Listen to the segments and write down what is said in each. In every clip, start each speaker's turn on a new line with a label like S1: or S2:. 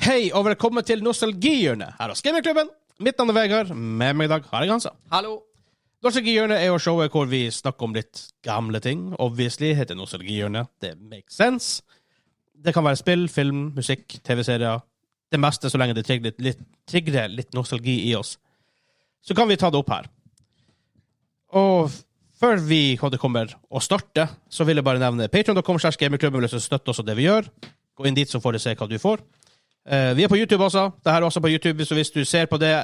S1: Hei og velkommen til Nostalgihjørnet her hos Gamerklubben. Mitt navn er Vegard. Med meg i dag har jeg Hansa.
S2: Hallo.
S1: Nostalgihjørnet er jo showet hvor vi snakker om litt gamle ting. Obviously heter Nostalgihjørnet. Det makes sense. Det kan være spill, film, musikk, TV-serier. Det meste så lenge det trigger litt, litt, trigger litt nostalgi i oss. Så kan vi ta det opp her. Og f- før vi kommer og starter, så vil jeg bare nevne patreon.com slash gamingklubben. Hvis du støtter oss og det vi gjør, gå inn dit, så får du se hva du får. Eh, vi er på YouTube også. Dette er også på YouTube, så hvis du ser på det,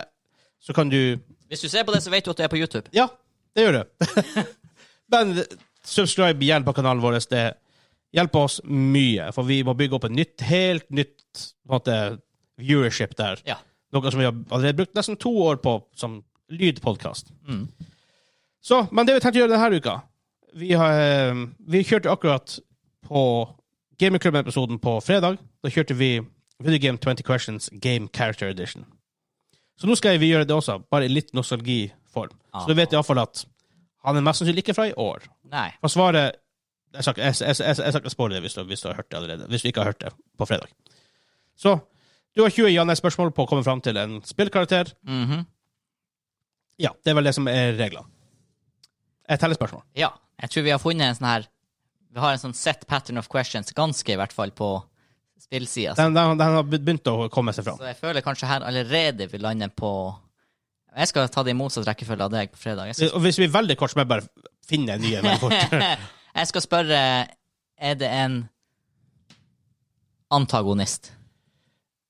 S1: så kan du
S2: Hvis du ser på det, så vet du at du er på YouTube.
S1: ja, det gjør du. Men subscribe igjen på kanalen vår. Det hjelper oss mye, for vi må bygge opp en nytt, helt nytt på en måte, viewership der.
S2: Ja.
S1: Noe som vi har allerede brukt nesten to år på som lydpodkast.
S2: Mm.
S1: Så, men det vi tenkte å gjøre denne uka Vi, har, eh, vi kjørte akkurat på Gamingklubben-episoden på fredag. Da kjørte vi Video Game 20 Questions Game Character Edition. Så nå skal vi gjøre det også, bare i litt nostalgiform. Så du vet iallfall at han er mest sannsynlig ikke fra i år.
S2: Nei.
S1: For svaret Jeg skal ikke- jeg- jeg- jeg- jeg skal ikke spåre det hvis du, hvis du har hørt det allerede. Hvis du ikke har hørt det på fredag. Så du har 20 ja-nei-spørsmål på å komme fram til en spillkarakter.
S2: Mhm.
S1: Ja, det er vel det som er reglene. Jeg teller spørsmål.
S2: Ja. Jeg tror vi har funnet en sånn her Vi har en sånn set pattern of questions, ganske i hvert fall, på spillsida.
S1: Den, den, den har begynt å komme seg fram.
S2: Så jeg føler kanskje her allerede vi lander på Jeg skal ta det i motsatt rekkefølge av deg på fredag. Jeg skal,
S1: Og hvis vi er veldig kort, så må jeg bare finne nye veldig fort.
S2: jeg skal spørre Er det en antagonist?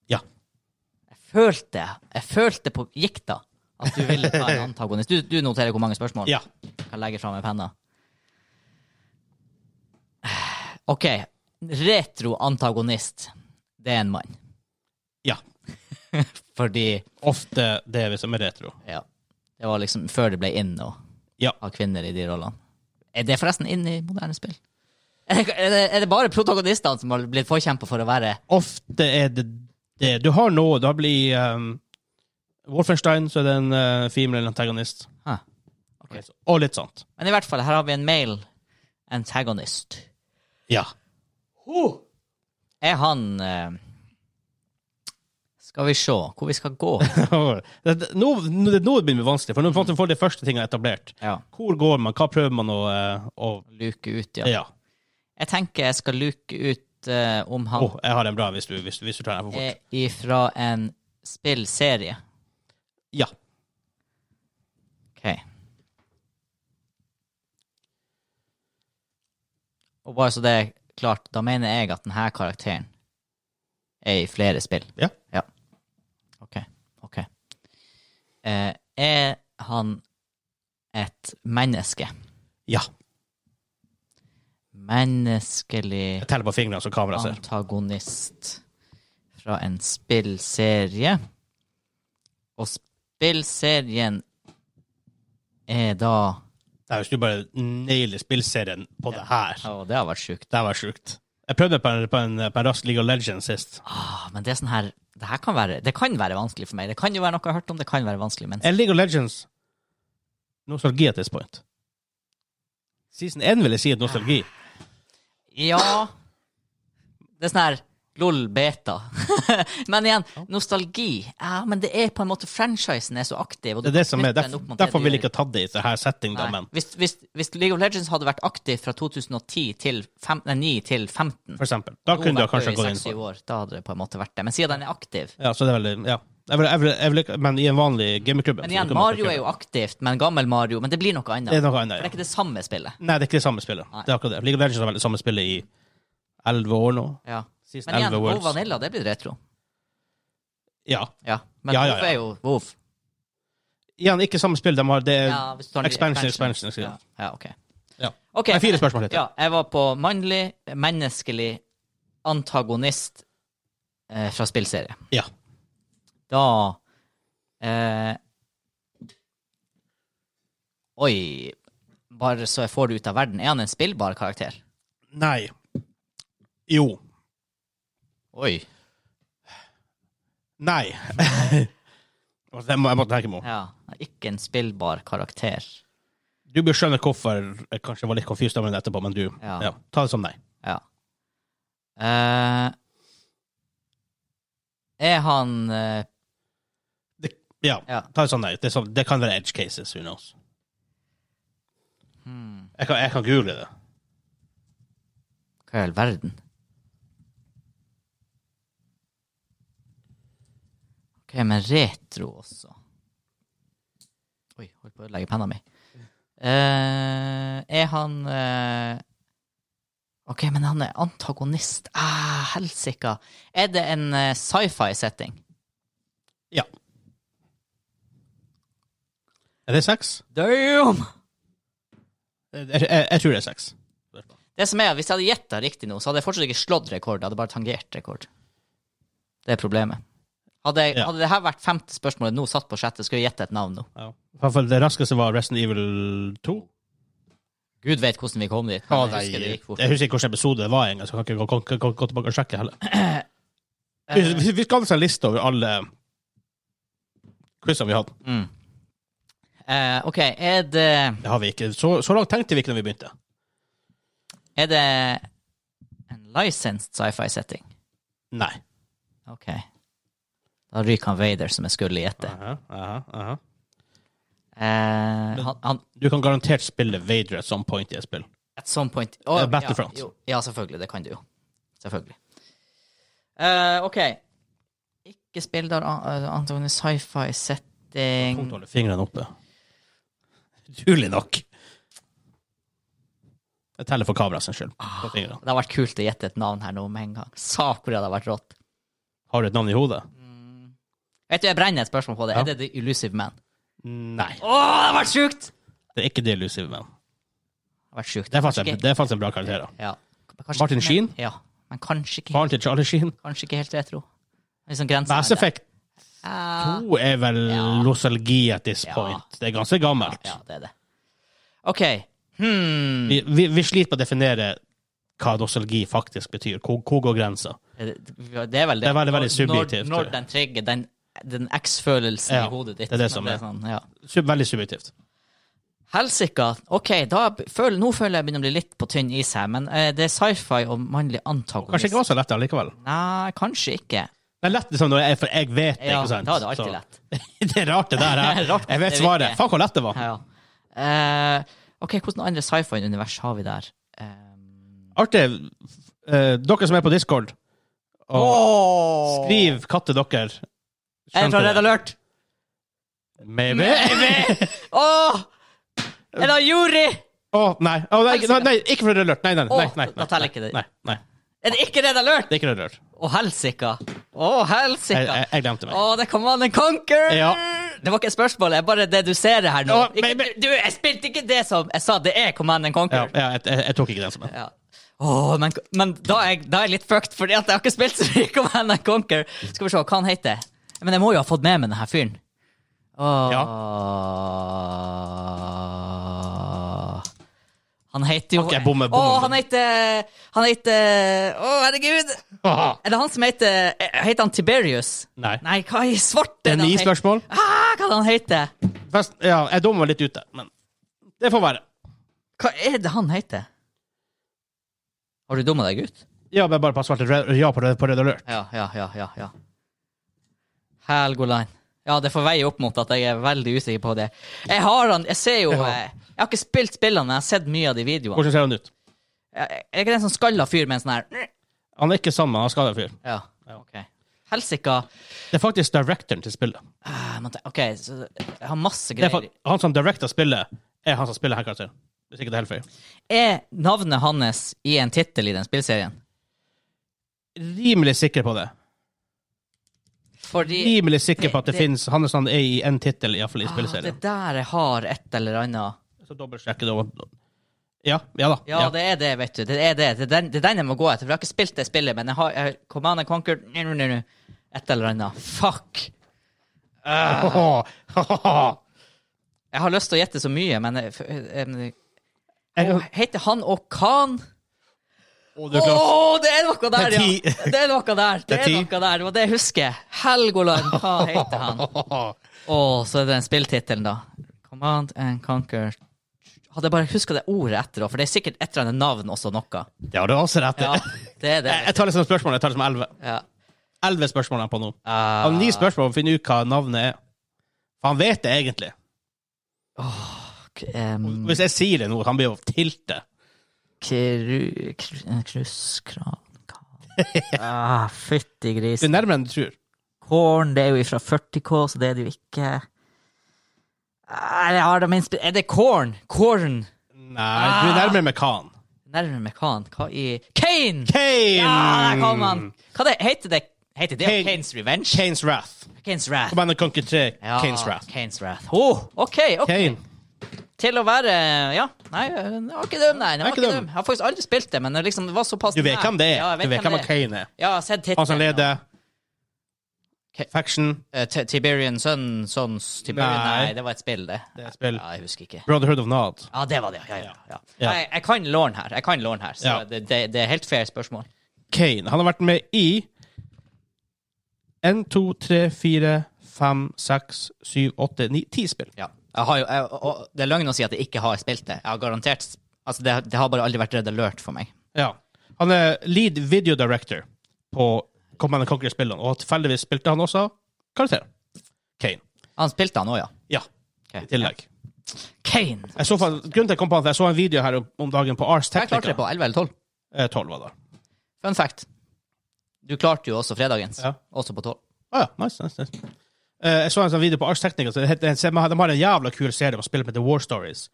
S1: Ja.
S2: Jeg følte Jeg følte på gikta at du ville ta en antagonist. Du, du noterer hvor mange spørsmål?
S1: ja.
S2: kan legge fra meg penna. OK. Retro-antagonist. Det er en mann.
S1: Ja.
S2: Fordi
S1: Ofte det vi som er retro.
S2: ja, det var liksom før det ble in å
S1: Ja.
S2: ha kvinner i de rollene. Er det forresten inn i moderne spill? Er det, er det, er det bare protagonistene som har blitt forkjempa for å være
S1: Ofte er det det. Du har noe. Da blir um, Wolfenstein, så er det en eh, female antagonist.
S2: Hæ.
S1: Og litt- Og litt sånt.
S2: Men i hvert fall, her har vi en male antagonist.
S1: Ja.
S2: Er han eh, Skal vi se hvor vi skal gå?
S1: Det- det- nå, nå nå begynner det å bli vanskelig, for nå får du de første tingene etablert.
S2: Ja,
S1: Hvor går man? Hva prøver man å, eh, å
S2: Luke ut, ja.
S1: Ja.
S2: Jeg tenker jeg skal luke ut eh, om
S1: Å,
S2: han
S1: jeg har en bra hvis du, hvis, du- hvis du tar den her for fort.
S2: er ifra en spillserie.
S1: Ja.
S2: OK. Og bare så det er klart, da mener jeg at denne karakteren er i flere spill.
S1: Ja.
S2: Ja. OK. OK. Eh, er han et menneske?
S1: Ja.
S2: Menneskelig
S1: Jeg teller på fingrene så kameraet ser.
S2: antagonist fra en spillserie. Og spillserien er da
S1: Nei, hvis du bare nailer spillserien på det her.
S2: Å, det har vært sjukt.
S1: Det var sjukt. Jeg prøvde på en, på en, på en rask League of Legends sist.
S2: Ah, men det er sånn her det her kan være, det kan være vanskelig for meg. Det kan jo være noe jeg har hørt om, det kan være vanskelig, men
S1: Er Eh, League of Legends nostalgi at this point? Season 1 vil jeg si er nostalgi.
S2: Ja. Det er sånn her LOL beta. men igjen, nostalgi. Ja, men det er på en måte franchisen er så aktiv. Og du
S1: Det er det
S2: kan
S1: som er.
S2: knytte den
S1: Derfor,
S2: opp mot det
S1: derfor
S2: du
S1: vil
S2: gjør.
S1: jeg ikke ha tatt det i denne setting, da,
S2: Nei.
S1: men
S2: Hvis, hvis, hvis League of Legends hadde vært aktiv fra 2010 til fem, nei, 9 til 15
S1: for eksempel. Da kunne jeg kanskje gått inn for
S2: for år, Da hadde det på en måte vært det. Men siden den er aktiv
S1: Ja, så det er veldig Ja. Jeg vil, jeg vil, jeg vil, ikke- men i en vanlig gamingklubbe.
S2: Men igjen, Mario er jo aktivt, men gammel Mario. Men det blir noe annet.
S1: Det er noe
S2: For
S1: annet.
S2: det
S1: Ja.
S2: er ikke det samme spillet.
S1: Nei, det er ikke det samme spillet. Det er akkurat det. League of Legends har vært det samme spillet i elleve år nå.
S2: Ja.
S1: Sist
S2: Men igjen,
S1: elleve
S2: WoW
S1: Worlds.
S2: Vanilla, det blir retro.
S1: Ja.
S2: Ja. Men
S1: Ja, ja,
S2: WoW
S1: ja.
S2: er jo WoW.
S1: Igjen, ikke samme spill. De har det
S2: Ja, hvis du tar den i
S1: Expansion, expansion.
S2: Ja,
S1: expansion.
S2: ja OK.
S1: Ja.
S2: Ok,
S1: Det er fire spørsmål til.
S2: Ja, jeg var på mannlig, menneskelig antagonist eh, fra spillserie.
S1: Ja.
S2: da eh, Oi. Bare så jeg får det ut av verden. Er han en spillbar karakter?
S1: Nei. Jo.
S2: Oi.
S1: Nei. Det må, jeg måtte tenke meg om.
S2: Ja, Ikke en spillbar karakter.
S1: Du bør skjønne hvorfor jeg kanskje var litt confused over den etterpå, men du
S2: Ja.
S1: ja. Ta det som nei.
S2: Ja. Eh, Er han eh,
S1: Det, ja,
S2: Ja.
S1: ta det sånn der. Det, er sånn, det kan være edge cases, who knows.
S2: hmm.
S1: Jeg, kan, jeg kan google det.
S2: Hva i all verden? OK, men retro også. Oi, holdt på å ødelegge penna mi. Eh, er han eh, OK, men han er antagonist. Ah, Helsika. Er det en eh, sci-fi-setting?
S1: Ja. Er det seks?
S2: Damn!
S1: Jeg, jeg, jeg tror det er seks.
S2: Det som er, Hvis jeg hadde gjetta riktig nå, så hadde jeg fortsatt ikke slått rekord. Jeg hadde bare tangert rekord. Det er problemet. Hadde, jeg,
S1: Ja.
S2: hadde det her vært femte spørsmålet nå, satt på sjette, skulle jeg gjette et navn nå.
S1: Ja. I hvert fall det raskeste var Resident Evil 2.
S2: Gud vet hvordan vi kom dit.
S1: Ja,
S2: men
S1: nei,
S2: jeg husker det
S1: jeg
S2: gikk fort.
S1: husker ikke hvilken episode det var engang, så jeg kan ikke gå, gå, gå, gå tilbake og sjekke heller. Vi, vi, vi skal ha en liste over alle quizene vi hadde.
S2: Mm. Eh, OK, er det
S1: Det har vi ikke. Så, så langt tenkte vi ikke når vi begynte.
S2: Er det en licensed sci-fi-setting?
S1: Nei.
S2: OK. Da ryker han Vader, som jeg skulle gjette.
S1: Aha, aha, aha.
S2: Eh, han, han
S1: Du kan garantert spille Vader at some point i et spill.
S2: At some point Å,
S1: Eh, Battlefront.
S2: Ja, jo, ja, selvfølgelig. Det kan du jo. Selvfølgelig. Eh, OK. Ikke spill eh, der an- Antony
S1: Punkt
S2: sci-fi-setting
S1: holde fingrene oppe. Utrolig nok. Jeg teller for kameraet sin skyld.
S2: Ah.
S1: På fingrene.
S2: Det har vært kult å gjette et navn her nå med en gang. Sa hvor det hadde vært rått.
S1: Har du et navn i hodet?
S2: Vet du, Jeg brenner et spørsmål på det.
S1: Ja.
S2: Er det The Illusive Man?
S1: Nei.
S2: Å, det har vært sjukt! Det
S1: Det er ikke The Illusive Man.
S2: har vært sjukt.
S1: Det er faktisk,
S2: Kanskje
S1: det er faktisk en bra karakter. da.
S2: ikke- ja. Kanskje-
S1: Martin
S2: men-
S1: Sheen?
S2: Ja. Men kanskje ikke,
S1: Faren til Charlie Sheen.
S2: kanskje ikke helt retro. Liksom grensen
S1: Mass
S2: er der.
S1: Effect 2 er vel
S2: Ja.
S1: nostalgi at this
S2: Ja.
S1: point. Det er ganske gammelt.
S2: Ja, det er det. OK. Hmm.
S1: Vi, vi, vi sliter med å definere hva nostalgi faktisk betyr. Hvor, hvor går grensa?
S2: Det det er vel det.
S1: Det er veldig, veldig
S2: Når-
S1: subjektivt,
S2: Når,
S1: tror jeg.
S2: når den trigger den, den X-følelsen
S1: Ja,
S2: i hodet ditt.
S1: det er det som
S2: men
S1: er.
S2: sånn, ja.
S1: Sub- Veldig subjektivt.
S2: Helsika. OK, da b- føl, nå føler jeg begynner å bli litt på tynn is her, men eh, det er sci-fi og mannlig antagonist.
S1: Kanskje ikke var så lett allikevel.
S2: Nei, kanskje ikke.
S1: Det er lett liksom, når jeg, for jeg vet det,
S2: Ja,
S1: ikke sant?
S2: da er det alltid
S1: Så-
S2: lett.
S1: det er rart, det der. Jeg,
S2: Rart,
S1: jeg vet
S2: det
S1: svaret.
S2: virker.
S1: Faen, hvor lett det var.
S2: Ja. Eh, OK, hvordan andre sci-fi-univers har vi der? Um,
S1: Artig. eh, dere som er på Discord, og skriv hva til dere.
S2: Er det fra Red
S1: det?
S2: Alert?
S1: Maybe.
S2: Åh! Er det Juri?
S1: Å, nei. Å, nei, nei, nei. Ikke fra Red Alert. Nei, nei, nei.
S2: Å,
S1: nei, nei,
S2: da teller ikke det.
S1: Nei, nei.
S2: Er det ikke Red Alert?
S1: Det er ikke Red Alert.
S2: Å, helsika. Å,
S1: Jeg,
S2: helsika.
S1: jeg, jeg glemte meg.
S2: Å, det kan man en conquer!
S1: Ja.
S2: Det var ikke et spørsmål, jeg bare deduserer her nå.
S1: Ja,
S2: Ikke,
S1: men- men-
S2: du, jeg spilte ikke det som Jeg sa det er Command and
S1: Ja,
S2: Conquer. Ja.
S1: ja, jeg, jeg, jeg tok ikke den som en.
S2: Åh, men, men da, er jeg, da er jeg litt fucked, fordi at jeg har ikke spilt så mye Command and Conquer. Skal vi se, hva han heter Men jeg må jo ha fått med meg denne fyren. Åh. Han heter jo
S1: Ok, bommer, bommer, bommer.
S2: Åh, han heter Han heter Å, herregud!
S1: Åh,
S2: Er det han som heter Heter han Tiberius?
S1: Nei.
S2: Nei, hva i svarte
S1: Det er ni spørsmål.
S2: Ah, hva er det han heter?
S1: Fast, ja, jeg dummer meg litt ute, men det får være.
S2: Hva er det han heter? Har du dumma deg ut?
S1: Ja, men bare pass svart ja på Red, på Red Alert.
S2: Ja, ja, ja, ja. ja. Helgoland. Ja, det får veie opp mot at jeg er veldig usikker på det. Jeg har han, jeg ser jo
S1: Ja.
S2: eh, Jeg har ikke spilt spillene, men jeg har sett mye av de videoene.
S1: Hvordan ser han ut?
S2: Jeg jeg er ikke den som skalla fyr med en sånn her
S1: Han er ikke sammen, han er skada fyr.
S2: Ja, ok. Helsika.
S1: Det er faktisk directoren til spillet.
S2: Ah, men det- OK, så jeg har masse
S1: Det er
S2: greier.
S1: fa- han som director spillet, er han som spiller her karakteren. Hvis ikke det er helt feil.
S2: Er navnet hans i en tittel i den spillserien?
S1: Rimelig sikker på det.
S2: Fordi
S1: Rimelig sikker
S2: det-
S1: på at det,
S2: det-
S1: finnes Han er sånn er i en tittel, iallfall i
S2: Ah,
S1: spilleserien.
S2: Det der jeg har et eller annet.
S1: Så dobbeltsjekke det. og- Ja, ja da.
S2: Ja, det er det, vet du. Det er det. Det er den, det er den jeg må gå etter. For jeg har ikke spilt det spillet, men jeg har jeg, Command and Conquer nu, nu, nu, nu. Et eller annet. Fuck! Jeg har lyst til å gjette så mye, men jeg, f- eh, em,
S1: Jeg-
S2: Åh, Heter han og Khan?
S1: Å, du
S2: Å,
S1: er klar.
S2: det er noe der,
S1: Det er
S2: ja!
S1: ti.
S2: Det er noe der. Det
S1: Det er
S2: er
S1: ti.
S2: noe der. Det var det jeg husker. Helgoland, hva heter han? Å, så er det den spilltittelen, da. Command and Conquer. Hadde jeg bare huska det ordet etter, da, for det er sikkert et eller annet navn også noe.
S1: Det har du også rett i.
S2: Ja, det er det.
S1: liksom Jeg jeg tar det som spørsmål. Jeg tar det som elleve.
S2: Ja.
S1: Elleve spørsmål er han på nå.
S2: Ah.
S1: Han har ni spørsmål for å finne ut hva navnet er. For han vet det egentlig.
S2: Åh, k- em,
S1: Hvis jeg sier det nå, han blir jo tilte.
S2: Kru... kru- Krusskran kan- ah, Fytti gris.
S1: Du er nærmere enn du tror.
S2: Korn, det er jo ifra 40K, så det er det jo ikke. Ah, jeg har dem inspi- Er det korn? Korn?
S1: Nei, du
S2: Ah.
S1: er nærmere Mekan.
S2: Nærmere mekan. Hva i Kane!
S1: Kane!
S2: Ja, der kom han! Hva det, heter det? Heter det
S1: Kane.
S2: Kanes Revenge?
S1: Kanes Wrath.
S2: Kanes Wrath.
S1: Bandet Conquer 3,
S2: Ja,
S1: Kanes Wrath.
S2: Kanes Wrath. Oh, ok, ok.
S1: Kane.
S2: Til å være Ja, nei, eh, den var ikke dum, nei.
S1: er
S2: Den var
S1: ikke
S2: ikke
S1: dum.
S2: dum. Jeg har faktisk aldri spilt det, men det liksom, det var såpass
S1: Du vet
S2: nær.
S1: hvem det er.
S2: Ja, jeg
S1: du vet hvem
S2: det er.
S1: Kane er.
S2: Ja, jeg har sett tittelen.
S1: Han som leder
S2: Ka-
S1: Faction.
S2: Eh, Ti- Tiberian Sun, Sons Tiberian
S1: Nei.
S2: nei. det var et spill, det.
S1: Det er et spill.
S2: Ja, jeg husker ikke.
S1: Brotherhood of Nod.
S2: Ja, det var det. Ja, ja, ja.
S1: Ja.
S2: Nei, jeg kan lån her, Jeg kan lån her, så
S1: Ja.
S2: det, det, det er helt fair spørsmål.
S1: Kane. Han har vært med i 1, 2, 3, 4, 5, 6, 7, 8, 9, 10 spill.
S2: Ja. Jeg har jo, jeg, og- og, det er løgn å si at jeg ikke har spilt det. Jeg har garantert sp- Altså, det, det har bare aldri vært Red Alert for meg.
S1: Ja. Han er lead video director på Command Conquer-spillene, og tilfeldigvis spilte han også karakter. Kane.
S2: Han spilte han òg, ja.
S1: Ja,
S2: Ok.
S1: i tillegg.
S2: Kane!
S1: Jeg så, fa- grunnen til at jeg kom på han, for jeg så en video her om- om dagen på Ars
S2: Jeg klarte
S1: Technica.
S2: det på 11 eller 12.
S1: Eh, 12 var det.
S2: Fun fact. Du klarte jo også fredagens.
S1: Ja.
S2: Også på 12.
S1: Å Ah, ja, nice, nice, nice. Eh, jeg så en sånn video på Ars Technica. Så det heter, de har en jævla kul serie om spill med The War Stories.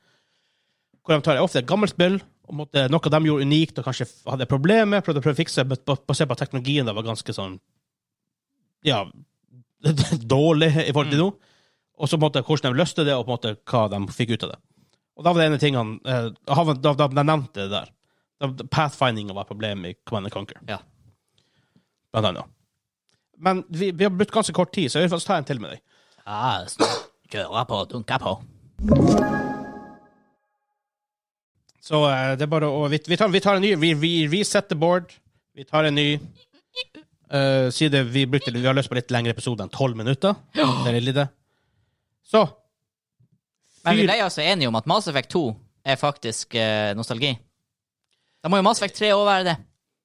S1: Hvor de tar ofte et gammelt spill, og måtte, noe de gjorde unikt og kanskje f- hadde problemer med, prøvde å prøve å fikse, men bas- basert på at teknologien da var ganske sånn Ja, dårlig i forhold til nå. Og så på en måte hvordan de løste det, og på en måte hva de fikk ut av det. Og da var det ene tingene eh, han- Da, da, de nevnte det der. Da- Pathfindinga var et problem i Command and Conquer
S2: Ja.
S1: blant annet. Men vi, vi har brukt ganske kort tid, så jeg vil faktisk ta en til med deg.
S2: Ja, kjøre på, dunke på.
S1: Så eh, det er bare å Vi, vi, tar, vi tar en ny. Vi, vi resetter board. Vi tar en ny. Uh, side vi, brukte, vi har løst på litt lengre episode enn tolv minutter. Det er litt lite. Så
S2: Men vi
S1: Fyr-
S2: ble altså enige om at Mass Effect 2 er faktisk eh, nostalgi. Da må jo Mass Effect 3 òg være det.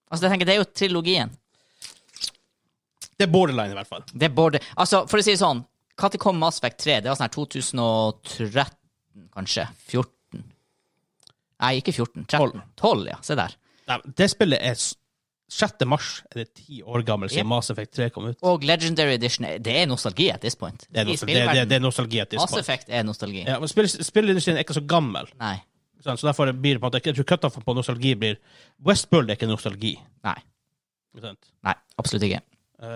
S2: Altså, jeg tenker, Det er jo trilogien.
S1: Det er borderline, i hvert fall.
S2: Det burde Altså, for å si det sånn, når kom Mass Effect 3? Det var sånn her 2013, kanskje? 14? Nei, ikke 14. 13. 12, ja. Se der.
S1: Nei, Det spillet er s- 6. mars. Er det ti år gammel siden
S2: Yep.
S1: Mass Effect 3 kom ut?
S2: Og Legendary Edition, det er nostalgi at this point.
S1: Det er, nostal-
S2: I
S1: det, det,
S2: spillverden,
S1: det er nostalgi. at this
S2: Mass
S1: point.
S2: Effect er nostalgi.
S1: Ja, men spill- Spillindustrien er ikke så gammel,
S2: Nei.
S1: sant, så derfor blir det på en måte Jeg tror cutoffen på nostalgi blir Westworld er ikke nostalgi.
S2: Nei.
S1: Ikke sant?
S2: Nei, absolutt ikke.
S1: Eh,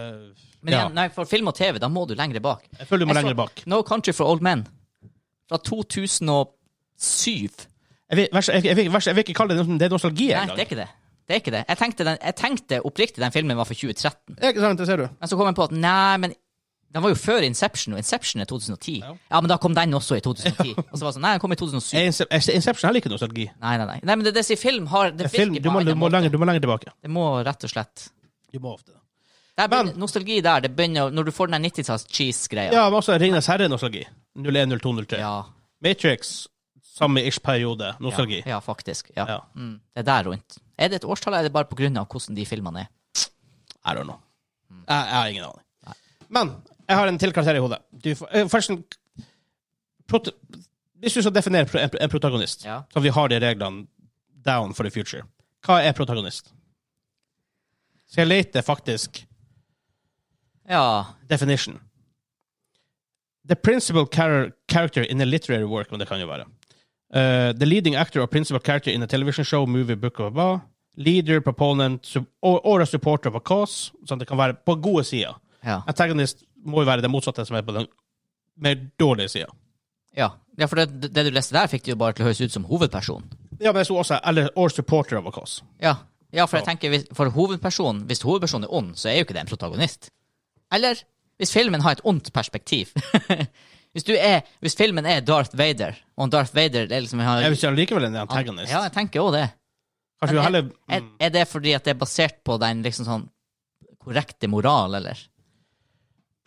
S2: Men
S1: ja.
S2: igjen, nei, for film og TV, da må du lengre bak.
S1: Jeg føler du må
S2: Jeg så-
S1: lenger bak.
S2: No Country for Old Men fra 2007.
S1: Jeg vil, vers- jeg, jeg, vil, vers- jeg vil ikke kalle det noe- det er nostalgi
S2: Nei,
S1: engang.
S2: det er ikke det. Det er ikke det. Jeg tenkte, den, jeg tenkte oppriktig den filmen var for 2013,
S1: Det er ikke sant, det ser du.
S2: men så kom jeg på at nei, men den var jo før Inception, og Inception er 2010.
S1: Ja.
S2: Ja, men da kom den også i 2010. Og så var det sånn, nei, den kom i 2007.
S1: Er Ince- er Inception heller ikke nostalgi.
S2: Nei, nei, nei. Nei, men det, det sier film har Det
S1: Det er film,
S2: virker på
S1: du, må,
S2: en
S1: du, må
S2: måte.
S1: lenger, du må lenger tilbake.
S2: Det må rett og slett
S1: Du må ofte det.
S2: der
S1: Men-
S2: begynner, Nostalgi der, det begynner å- Når du får den der 90-talls-cheese-greia.
S1: Ja, men også Ringenes herre-nostalgi. 010203.
S2: Ja,
S1: Matrix, samme ish-periode. Nostalgi.
S2: Ja, ja, faktisk. Ja.
S1: Ja.
S2: Mm, det er der rundt. Er det et årstall, eller er det bare på grunn av hvordan de filmene er?
S1: I don't know. Jeg, jeg har ingen aning. Men jeg har en til karakter i hodet. Du, får- eh, først en prot Hvis du skal definere pro- en, en protagonist,
S2: Ja.
S1: så vi har de reglene down for the future, hva er protagonist? Skal jeg lete faktisk
S2: Ja,
S1: definition? The principal char character in a literary work, men det kan jo være. Uh, the leading actor or principal character in a television show, movie, book or hva. Leader, proponent, sub or, or a supporter of a cause. Sånn at det kan være på gode sider.
S2: ja.
S1: Antagonist må jo være det motsatte som er på den mer dårlige sida.
S2: Ja, ja for det, det du leste der, fikk det jo bare til å høres ut som hovedperson.
S1: Ja, men jeg så også eller, or supporter of a cause.
S2: Ja, ja for jeg tenker hvis, for hovedpersonen, hvis hovedpersonen er ond, så er jo ikke det en protagonist. Eller hvis filmen har et ondt perspektiv. hvis, du er, hvis filmen er Darth Vader, og Darth Vader det er liksom har,
S1: Jeg vil si likevel en antagonist.
S2: Ja, jeg tenker òg det.
S1: Kanskje vi
S2: Men
S1: heller
S2: er, er, er det fordi at det er basert på den liksom sånn korrekte moral, eller?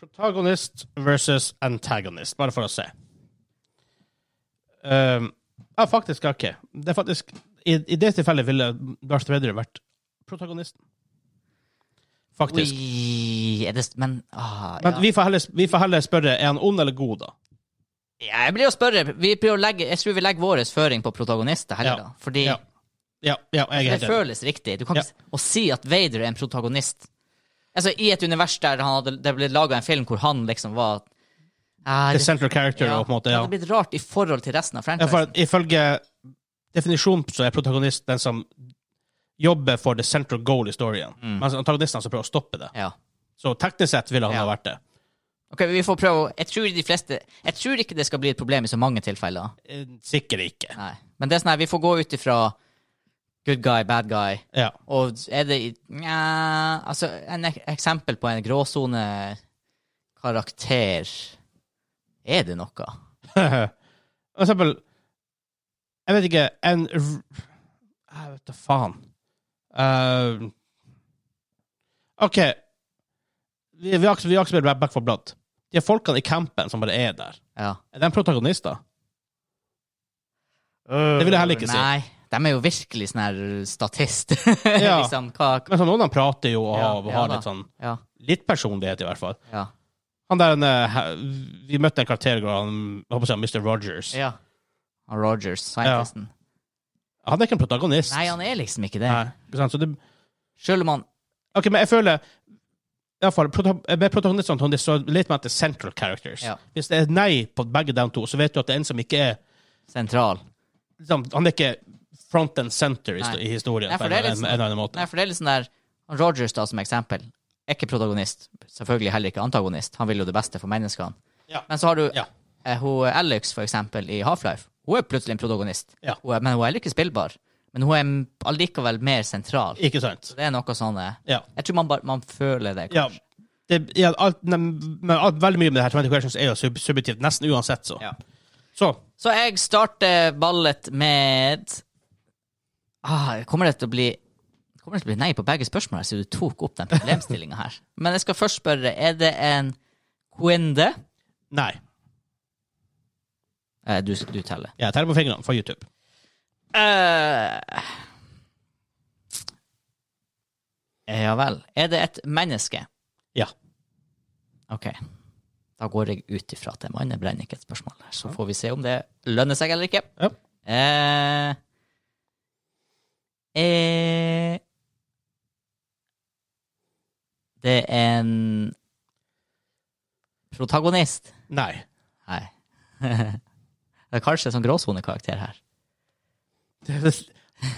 S1: Protagonist versus antagonist, bare for å se. Um, ja, faktisk, ok. Det er faktisk, i, I det tilfellet ville Darth Vader vært protagonisten. faktisk.
S2: Ui, er det, st- men ah,
S1: Men
S2: ja.
S1: vi, får heller, vi får heller spørre er han ond eller god, da.
S2: ja, Jeg blir å spørre. Vi prøver å legge, jeg tror vi legger vår føring på protagonister
S1: Ja.
S2: heller, da. Fordi
S1: Ja. Ja, ja jeg er
S2: det
S1: helt enig.
S2: føles riktig. Du kan
S1: Ja.
S2: ikke s- å si at Vader er en protagonist. Altså, I et univers der han hadde, det ble laga en film hvor han liksom var Ah,
S1: The central character, og på en måte.
S2: Det
S1: Ja.
S2: hadde blitt rart i forhold til resten av
S1: Ja,
S2: franchisen.
S1: for ifølge definisjonen så er protagonist den som jobber for the central goal i storyen. Mens antagonisten som prøver å stoppe det.
S2: Ja.
S1: Så teknisk sett ville han
S2: Ja.
S1: ha vært det.
S2: Ok, vi får prøve å- Jeg tror de fleste Jeg tror ikke det skal bli et problem i så mange tilfeller.
S1: Eh, Sikkert ikke.
S2: Nei. Men det er sånn her, vi får gå ut ifra good guy, bad guy.
S1: Ja.
S2: Og er det i- Nja Altså, en ek eksempel på en gråsonekarakter Er det noe?
S1: For eksempel Jeg vet ikke En r- Jeg vet da faen. Eh, OK. Vi, vi, aks- vi aksepterer Back for Blood. De folkene i campen som bare er der,
S2: Ja.
S1: er de protagonister? Det vil jeg heller ikke si.
S2: Nei. De er jo virkelig sånn her statist.
S1: Ja.
S2: liksom, hva
S1: Men så noen av dem prater jo og,
S2: Ja,
S1: og
S2: ja
S1: har
S2: da.
S1: litt sånn
S2: Ja.
S1: Litt personlighet, i hvert fall.
S2: Ja.
S1: Han der, eh, he- Vi møtte en karakter, han, jeg holdt på å si, Mr. Rogers.
S2: ja. Og Rogers, scientisten.
S1: Han er ikke en protagonist.
S2: Nei, han er liksom ikke det.
S1: Nei, ikke sant? Så det,
S2: Selv om han
S1: ok, men jeg føler i hvert fall, prota- Med protagonistene Tony, så litt mer etter central characters.
S2: Ja.
S1: Hvis det er nei på begge de to, så vet du at det er en som ikke er
S2: sentral.
S1: liksom, Han er ikke front and center i, sto-
S2: Nei.
S1: i historien
S2: Nei,
S1: på en,
S2: for det er litt
S1: en, en eller annen måte.
S2: Nei, for det er litt sånn der han Rogers, da, som eksempel, er ikke protagonist. Selvfølgelig heller ikke antagonist. Han vil jo det beste for menneskene.
S1: Ja.
S2: Men så har du
S1: Ja.
S2: eh, hun Alex, for eksempel, i Half-Life. Hun er plutselig en protagonist.
S1: Ja.
S2: Hun er, men hun er heller ikke spillbar. Men hun er m- allikevel mer sentral.
S1: Ikke sant?
S2: Det er noe sånn eh,
S1: Ja.
S2: Jeg tror man, bare- man føler det,
S1: ja.
S2: kanskje.
S1: Det, ja alt, nei, men alt, veldig mye med det her 20 questions er jo sub subjektivt, nesten uansett, så.
S2: Ja.
S1: Så
S2: Så jeg starter ballet med ah, Kommer det til å bli Kommer det til å bli nei på begge spørsmålene siden du tok opp den problemstillinga her? Men jeg skal først spørre, er det en quinde?
S1: nei.
S2: Eh, du, du teller.
S1: Jeg teller på fingrene for YouTube.
S2: Eh, ja vel. Er det et menneske?
S1: Ja.
S2: OK. Da går jeg ut ifra at det er mann. Jeg brenner ikke et spørsmål der. Så får vi se om det lønner seg eller ikke.
S1: Ja.
S2: Eh, eh, det er en protagonist.
S1: Nei.
S2: Nei. det er kanskje en sånn gråsonekarakter her.
S1: Det er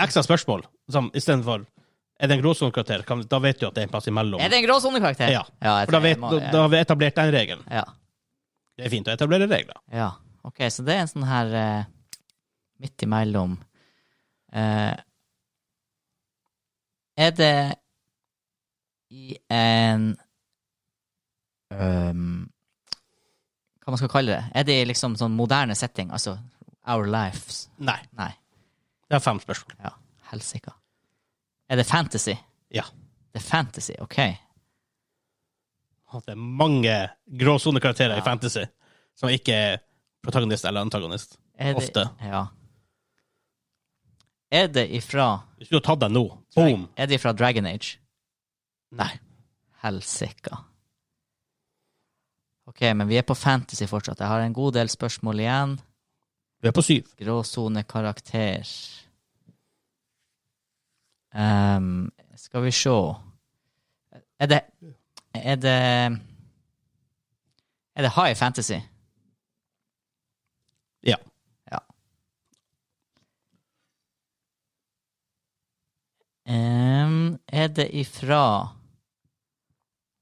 S1: Ekstra spørsmål som istedenfor Er det en gråsonekarakter? Kan- Da vet du at det er en plass imellom.
S2: Er det en gråsonekarakter?
S1: Ja.
S2: jeg
S1: For da,
S2: tror
S1: vet,
S2: jeg må-
S1: da, da har vi etablert den regelen.
S2: ja.
S1: Det er fint å etablere regler.
S2: ja. Ok, så det er en sånn her eh, midt imellom Eh, Er det i en um, Hva man skal kalle det? Er det i liksom sånn moderne setting? Altså Our Lives?
S1: Nei.
S2: Nei.
S1: Det er fem spørsmål.
S2: Ja, helsike. Er det fantasy?
S1: Ja.
S2: Det er fantasy, OK.
S1: At det er mange gråsonekarakterer
S2: Ja.
S1: i fantasy som ikke er protagonist eller antagonist.
S2: Er det,
S1: Ofte.
S2: Ja. Er det ifra
S1: Hvis du har tatt deg nå, boom!
S2: Er de fra Dragon Age?
S1: Nei.
S2: Helsika. Ok, men vi er på fantasy fortsatt. Jeg har en god del spørsmål igjen.
S1: Du er på syv.
S2: Gråsonekarakter Ehm, Skal vi se Er det Er det Er det high fantasy?
S1: Ja.
S2: Ja. Ehm, er det ifra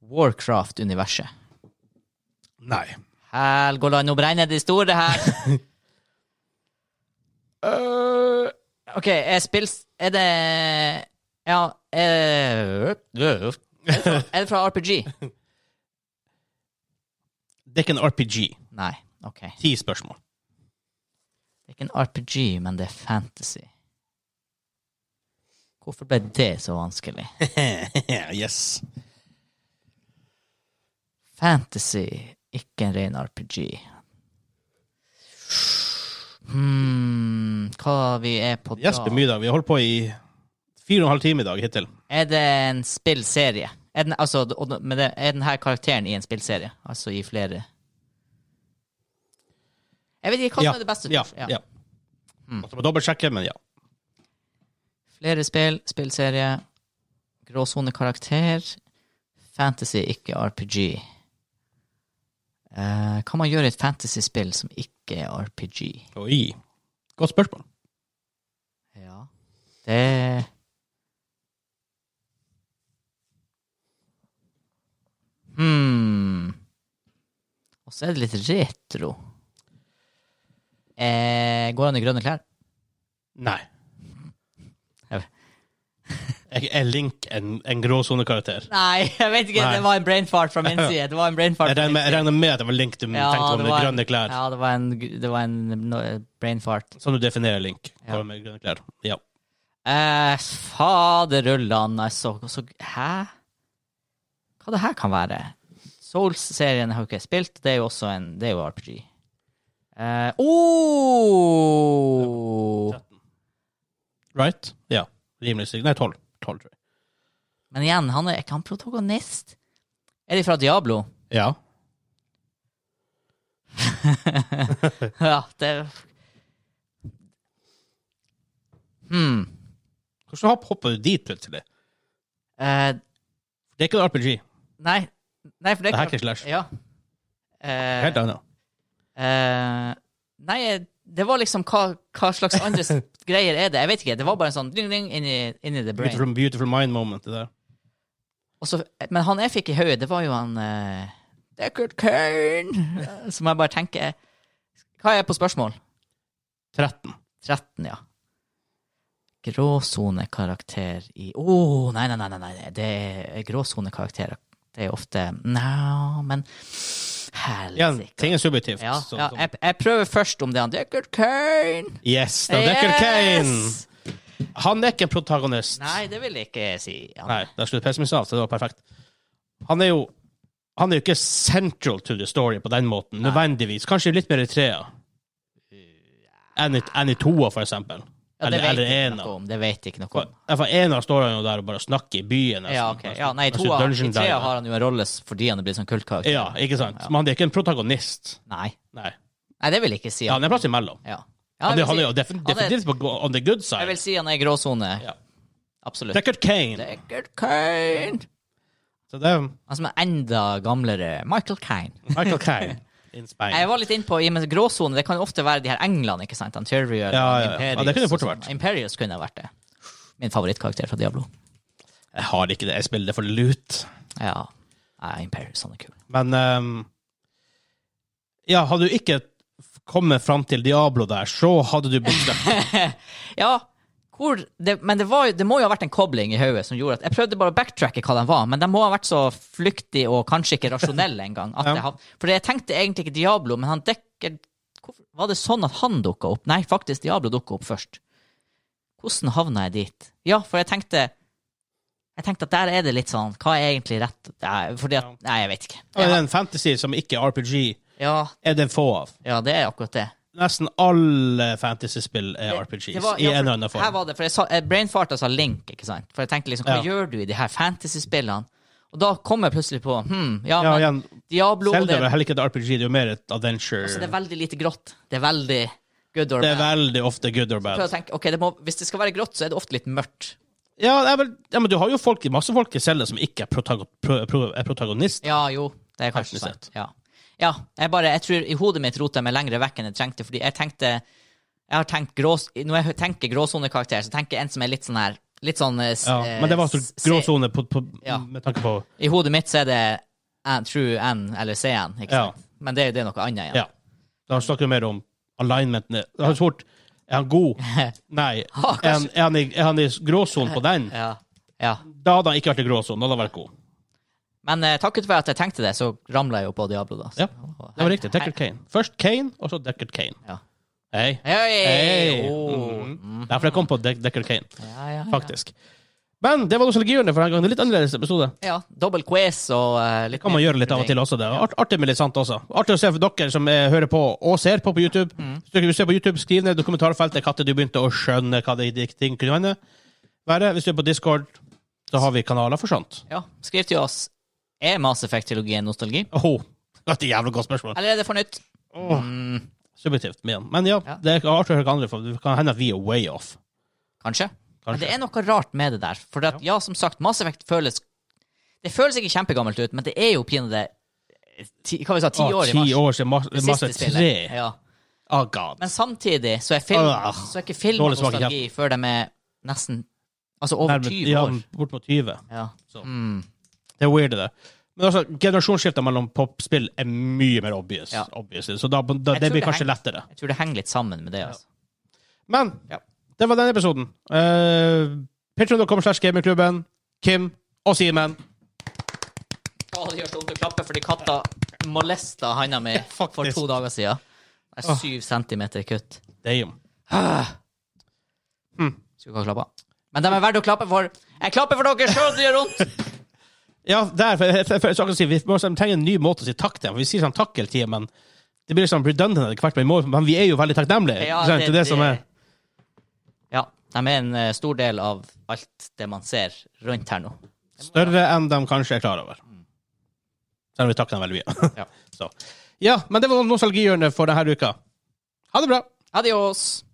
S2: Warcraft-universet?
S1: Nei.
S2: Helgoland, nå brenner de store her! Øh, OK, er spill... Er det Ja, er, er det fra RPG?
S1: Det er ikke en RPG.
S2: Nei, OK.
S1: Ti spørsmål.
S2: Det er ikke en RPG, men det er fantasy. Hvorfor ble det så vanskelig?
S1: yes.
S2: Fantasy, ikke en ren RPG. Hmm, hva vi er på da?
S1: Jesper Myrdal, vi har holdt på i fire og en halv time i dag hittil.
S2: Er det en spillserie? Er den, altså, og den- men det, er den her karakteren i en spillserie? Altså i flere Jeg vet ikke hva som er det beste.
S1: Ja.
S2: først.
S1: ja.
S2: Ja.
S1: ja.
S2: Hmm.
S1: Måtte bare dobbeltsjekke, men ja.
S2: Flere spill, spillserie, gråsonekarakter, fantasy, ikke RPG. Eh, kan man gjøre et fantasyspill som ikke er RPG?
S1: Oi. Godt spørsmål.
S2: Ja. Det Hmm. Og så er det litt retro. Eh, går han i grønne klær?
S1: Nei.
S2: Jeg-
S1: Jeg er Link en, en gråsonekarakter.
S2: Nei, jeg vet ikke.
S1: Nei.
S2: Det var en brain fart fra min side. Det var en brain fart
S1: Jeg
S2: fra
S1: regner
S2: min
S1: med, jeg
S2: side.
S1: regner med at det var Link du tenkte på med
S2: var en-
S1: grønne klær.
S2: Ja, det var en, gr- det var en no, brain fart.
S1: Sånn du definerer Link.
S2: Ja.
S1: Med grønne klær. Ja.
S2: Eh, Faderullan, altså. Så, hæ? Hva det her kan være? Souls-serien har jo ikke jeg spilt. Det er jo også en Det er jo RPG. Eh, oh!
S1: Right? Ja. Rimelig sikkert. Nei, tolv. Tolv, tror jeg.
S2: Men igjen, han er ikke han protagonist? Er de fra Diablo?
S1: Ja.
S2: ja, det Hmm.
S1: Hvordan hopp- hopper du dit plutselig?
S2: Eh,
S1: Det er ikke en RPG.
S2: Nei, nei, for det
S1: Det er hack and slash.
S2: Ja. Eh,
S1: Helt annet.
S2: eh, nei, det var liksom hva, hva slags andre s- greier er det? Jeg vet ikke. Det var bare en sånn ding, ding, inni, inni the brain.
S1: Beautiful, beautiful mind moment, det der.
S2: Og så- men han jeg fikk i hodet, det var jo han eh, Deckard Kane! Som jeg bare tenker Hva er jeg på spørsmål?
S1: 13.
S2: 13, ja. Gråsonekarakter i Å, nei, nei, nei, nei, nei, det er gråsonekarakterer. Det er ofte Nja, men
S1: Igjen,
S2: Helsike.
S1: ting er subjektivt.
S2: Ja,
S1: så- sånn.
S2: ja
S1: så-
S2: jeg, jeg prøver først om det er han Deckard Kane.
S1: Yes, det er Deckard Kane!
S2: Yes!
S1: Han er ikke en protagonist.
S2: Nei, det vil jeg ikke si. Han.
S1: Nei, der skulle PC-en min av, så det var perfekt. Han er jo han er jo ikke central to the story på den måten, nødvendigvis. Kanskje litt mer i trea. Enn i, enn i toa, for eksempel.
S2: ja, det
S1: eller
S2: vet
S1: eller
S2: jeg ikke
S1: ena.
S2: noe om. Det vet jeg ikke noe om.
S1: For ena står han jo der og bare snakker i byen. nesten.
S2: Ja, ok.
S1: Han
S2: Ja, nei, i
S1: snakker- han
S2: toa, I
S1: snakker dungeon
S2: trea
S1: diver.
S2: har han jo en rolle s- fordi han er blitt sånn kultkarakter.
S1: Ja, ikke sant? Men han er ikke en protagonist.
S2: Nei.
S1: Nei.
S2: nei, det vil jeg ikke si.
S1: Ja, han er plass imellom.
S2: Ja. Ja,
S1: Han,
S2: jeg
S1: er-
S2: vil
S1: han
S2: si-
S1: er jo defin-
S2: han er-
S1: definitivt på go- on the good
S2: Jeg
S1: side.
S2: vil si han er i gråsone.
S1: Ja.
S2: Absolutt.
S1: Deckard Kane.
S2: Deckard Kane.
S1: Så det er
S2: Han som er enda gamlere. Michael Kane.
S1: Michael Kane in Spain.
S2: Jeg var litt inne på i og med gråsone. Det kan jo ofte være de her England, ikke sant?
S1: Ja,
S2: Anterior,
S1: ja, ja.
S2: Imperius.
S1: Ja, det kunne det fort
S2: og sånn.
S1: vært.
S2: Imperius kunne ha vært det. Min favorittkarakter fra Diablo.
S1: Jeg har ikke det. Jeg spiller det for lut.
S2: Ja. Nei, Imperius, han er kul.
S1: Men ehm, Ja, hadde du ikke kommet fram til Diablo der, så hadde du blitt det.
S2: Ja, hvor det, Men det, var, jo- det må jo ha vært en kobling i hodet som gjorde at Jeg prøvde bare å backtracke hva den var, men den må ha vært så flyktig og kanskje ikke rasjonell engang.
S1: Ja.
S2: Ja. For jeg tenkte egentlig ikke Diablo, men han dekker hvorfor, Var det sånn at han dukka opp? Nei, faktisk, Diablo dukka opp først. Hvordan havna jeg dit? Ja, for jeg tenkte jeg tenkte at der er det litt sånn Hva er egentlig rett? Nei, Fordi at, nei jeg vet ikke.
S1: Og
S2: Ja,
S1: en fantasy som ikke er RPG,
S2: ja,
S1: er det få av.
S2: ja, det er akkurat det.
S1: Nesten alle fantasyspill er RPGs,
S2: Det var-
S1: i
S2: ja,
S1: en eller
S2: for-
S1: annen
S2: Her
S1: form.
S2: var det, for jeg, sa, eh, jeg brainfarta sa altså Link, ikke sant? For jeg tenkte liksom, hva
S1: Ja.
S2: gjør du i de her fantasy-spillene? Og da kom jeg plutselig på, hm, ja,
S1: Ja,
S2: men
S1: igjen,
S2: Diablo,
S1: Zelda
S2: det,
S1: er heller ikke et RPG, det er jo mer et adventure.
S2: altså, det er veldig lite grått. Det er veldig good or
S1: Det er
S2: bad.
S1: veldig ofte good or bad.
S2: Prøv å tenke, ok, det må, hvis det skal være grått, så er det ofte litt mørkt.
S1: Ja, det er vel, ja, men du har jo folk, masse folk i Zelda som ikke er, protago pro pro er protagonist.
S2: Ja, jo, det er
S1: Teknisk
S2: kanskje sant.
S1: sett.
S2: Ja. ja, jeg bare, jeg tror i hodet mitt rotet jeg meg lengre vekk enn jeg trengte, fordi jeg tenkte, jeg har tenkt grås, når jeg tenker gråsonekarakter, så tenker jeg en som er litt sånn her, litt sånn... eh, s-
S1: Ja, men det var altså så
S2: eh, s-
S1: grå sone på- på-
S2: Ja.
S1: med tanke på
S2: I hodet mitt så er det N, True N eller CN, ikke
S1: Ja.
S2: sant? Men det, er- det er noe annet igjen.
S1: Ja. Da snakker vi mer om alignmentene. Det er svårt. Er han god? Nei.
S2: Ah,
S1: Er han, er han, i, er han i gråsonen på den?
S2: Ja. ja.
S1: Da hadde han ikke vært i gråsonen. Da hadde han vært god.
S2: Men eh, takket være at jeg tenkte det, så ramla jeg jo på Diablo, da. Så-
S1: Ja, Det var riktig. Deckard Kane. Først Kane, og så Deckard Kane.
S2: Ja.
S1: Hei.
S2: Hei!
S1: Hei.
S2: Åh.
S1: Mhm. Derfor jeg kom på Deck- Deckard Kane,
S2: Ja, Oh. ja, ja.
S1: faktisk. Men det var nostalgihjørnet for den gangen. Litt annerledes episode.
S2: ja. Dobbel quiz og eh, litt
S1: Kan man
S2: mer-
S1: gjøre litt av og til også. det. Art, artig med litt sant også. Artig å se for dere som eh, hører på og ser på på YouTube.
S2: Mm.
S1: Hvis dere vil se på YouTube, skriv ned i kommentarfeltet når du begynte å skjønne hva de de ting kunne være. Hvis du er på Discord, så har vi kanaler for sånt.
S2: Ja, skriv til oss. Er Mass Effect-trilogien nostalgi?
S1: Åh, det er et jævlig godt spørsmål.
S2: Eller er det for nytt?
S1: Åh.
S2: Mm,
S1: Subjektivt, men, men ja,
S2: Ja.
S1: det er artig å høre hva andre, for det kan hende at vi er way off.
S2: kanskje. Men det
S1: Kanskje.
S2: er noe rart med det der. For at, ja, som sagt, Mass Effect føles Det føles ikke kjempegammelt ut, men det er jo pinadø ti, Hva vi sa, ti
S1: Åh,
S2: år i mars.
S1: år siden Mas-
S2: Det
S1: Masse
S2: siste
S1: tre.
S2: spillet. Ja.
S1: Oh, God.
S2: Men samtidig så er, film,
S1: Ah,
S2: så er ikke film
S1: dårlig smak i
S2: nostalgi før de er nesten Altså over
S1: Nærmere-
S2: 20
S1: ja,
S2: år.
S1: bort mot 20.
S2: Ja.
S1: Så.
S2: Mm.
S1: Det er weird, det. Men altså, generasjonsskiftet mellom popspill er mye mer obvious,
S2: Ja.
S1: obviously, så da, da,
S2: Jeg
S1: det
S2: tror
S1: blir
S2: det
S1: kanskje
S2: henger-
S1: lettere.
S2: Jeg tror det henger litt sammen med det. altså.
S1: Men
S2: Ja.
S1: det var den episoden. Uh, Patreon.com slash gamingklubben. Kim og Simen.
S2: Å, det gjør så vondt å klappe fordi katta molesta handa mi
S1: faktisk. Ah.
S2: for to dager siden. Det er syv centimeter kutt.
S1: Damn.
S2: Skulle ikke ha klappa. Men de er verdt å klappe for. Jeg klapper for dere sjøl, det gjør vondt!
S1: Ja, der, for, for, for, så kan jeg si, vi må liksom trenger en ny måte å si takk til dem. Vi sier sånn takk hele tiden, men det blir liksom redundant etter hvert. Men, vi må, men vi er jo veldig takknemlige.
S2: Ja,
S1: ikke sant? det, er det, som er
S2: Ja. De er en eh, stor del av alt det man ser rundt her nå.
S1: større enn de kanskje er klar over. Selv om vi takker dem veldig mye.
S2: Ja.
S1: så. ja, men det var nostalgihjørnet for denne uka. Ha det bra.
S2: Adios!